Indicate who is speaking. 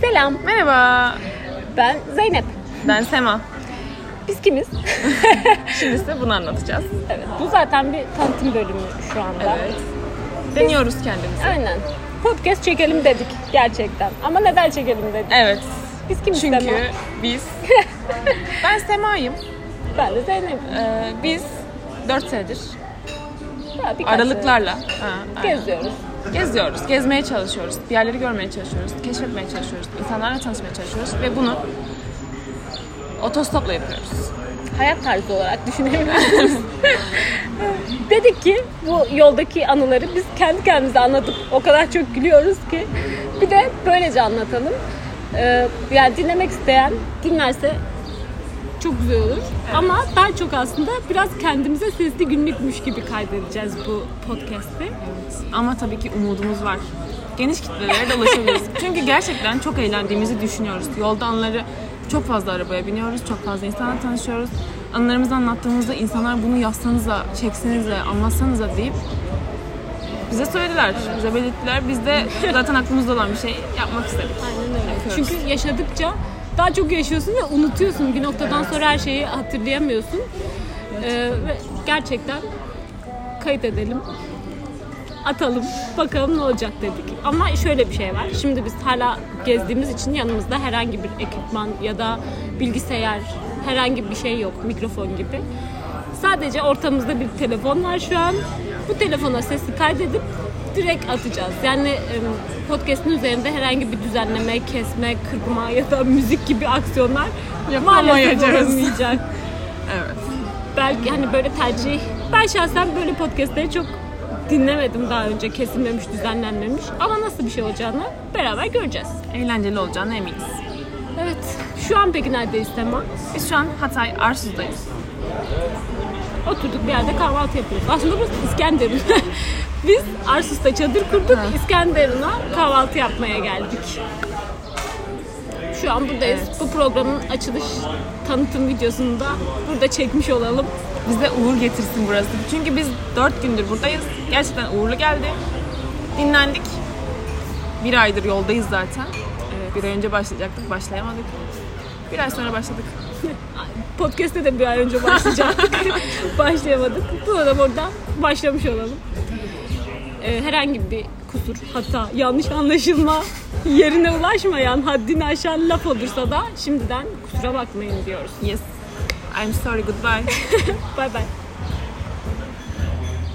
Speaker 1: Selam,
Speaker 2: Merhaba.
Speaker 1: ben Zeynep.
Speaker 2: Ben Sema.
Speaker 1: Biz kimiz?
Speaker 2: Şimdi size bunu anlatacağız.
Speaker 1: evet, bu zaten bir tanıtım bölümü şu anda.
Speaker 2: Evet. Deniyoruz kendimizi.
Speaker 1: Aynen. Podcast çekelim dedik gerçekten. Ama neden çekelim dedik?
Speaker 2: Evet.
Speaker 1: Biz kimiz Sema?
Speaker 2: Çünkü biz... ben Sema'yım.
Speaker 1: Ben de Zeynep.
Speaker 2: Ee, biz 4 senedir
Speaker 1: Ya, birkaç
Speaker 2: aralıklarla ha,
Speaker 1: sene
Speaker 2: aynen.
Speaker 1: Geziyoruz.
Speaker 2: geziyoruz. Gezmeye çalışıyoruz. Bir yerleri görmeye çalışıyoruz. Keşfetmeye çalışıyoruz. insanlarla tanışmaya çalışıyoruz. Ve bunu otostopla yapıyoruz.
Speaker 1: Hayat tarzı olarak düşünebilirsiniz. dedik ki bu yoldaki anıları biz kendi kendimize anlatıp o kadar çok gülüyoruz ki bir de böylece anlatalım. Ee, yani dinlemek isteyen dinlerse çok güzel olur. Ama daha çok aslında biraz kendimize sesli günlükmüş gibi kaydedeceğiz bu podcast'i.
Speaker 2: Ama tabii ki umudumuz var. Geniş kitlelere de ulaşabiliriz. Çünkü gerçekten çok eğlendiğimizi düşünüyoruz. Yolda anları çok fazla arabaya biniyoruz, çok fazla insanla tanışıyoruz. Anılarımızı anlattığımızda insanlar bunu yazsanıza, çeksenize, anlatsanıza deyip bize söylediler, bize belirttiler. Biz de zaten aklımızda olan bir şey yapmak istedik. Yapıyoruz.
Speaker 1: Çünkü yaşadıkça daha çok yaşıyorsun ve unutuyorsun. Bir noktadan sonra her şeyi hatırlayamıyorsun. Ee, ve gerçekten kayıt edelim. Atalım. Bakalım ne olacak dedik. Ama şöyle bir şey var. Şimdi biz hala gezdiğimiz için yanımızda herhangi bir ekipman ya da bilgisayar herhangi bir şey yok. Mikrofon gibi. Sadece ortamızda bir telefon var şu an. Bu telefona sesi kaydedip direkt atacağız. Yani em, podcast'in üzerinde herhangi bir düzenleme, kesme, kırpma ya da müzik gibi aksiyonlar maalesef
Speaker 2: Yapamayacağız.
Speaker 1: olamayacak.
Speaker 2: Evet.
Speaker 1: Belki hani böyle tercih. Ben şahsen böyle podcastleri çok dinlemedim daha önce. Kesilmemiş, düzenlenmemiş. Ama nasıl bir şey olacağını beraber göreceğiz.
Speaker 2: Eğlenceli olacağına eminiz.
Speaker 1: Evet. Şu an peki neredeyiz Sema?
Speaker 2: Biz şu an Hatay Arsuz'dayız.
Speaker 1: Oturduk bir yerde kahvaltı yapıyoruz. Aslında burası İskenderun. Biz Arsus'ta çadır kurduk. İskenderun'a kahvaltı yapmaya geldik. Şu an buradayız.
Speaker 2: Evet.
Speaker 1: Bu programın açılış tanıtım videosunu da burada çekmiş olalım.
Speaker 2: Bize uğur getirsin burası. Çünkü biz dört gündür buradayız. Gerçekten uğurlu geldi. Dinlendik. Bir aydır yoldayız zaten. Evet, bir ay önce başlayacaktık, başlayamadık. Bir ay sonra başladık.
Speaker 1: Podcast'e de bir ay önce başlayacaktık. Başlayamadık. Buna da buradan başlamış olalım. Ee, herhangi bir kusur, hata, yanlış anlaşılma yerine ulaşmayan, haddini aşan laf olursa da şimdiden kusura bakmayın diyoruz.
Speaker 2: Yes. I'm sorry, goodbye.
Speaker 1: Bay bay.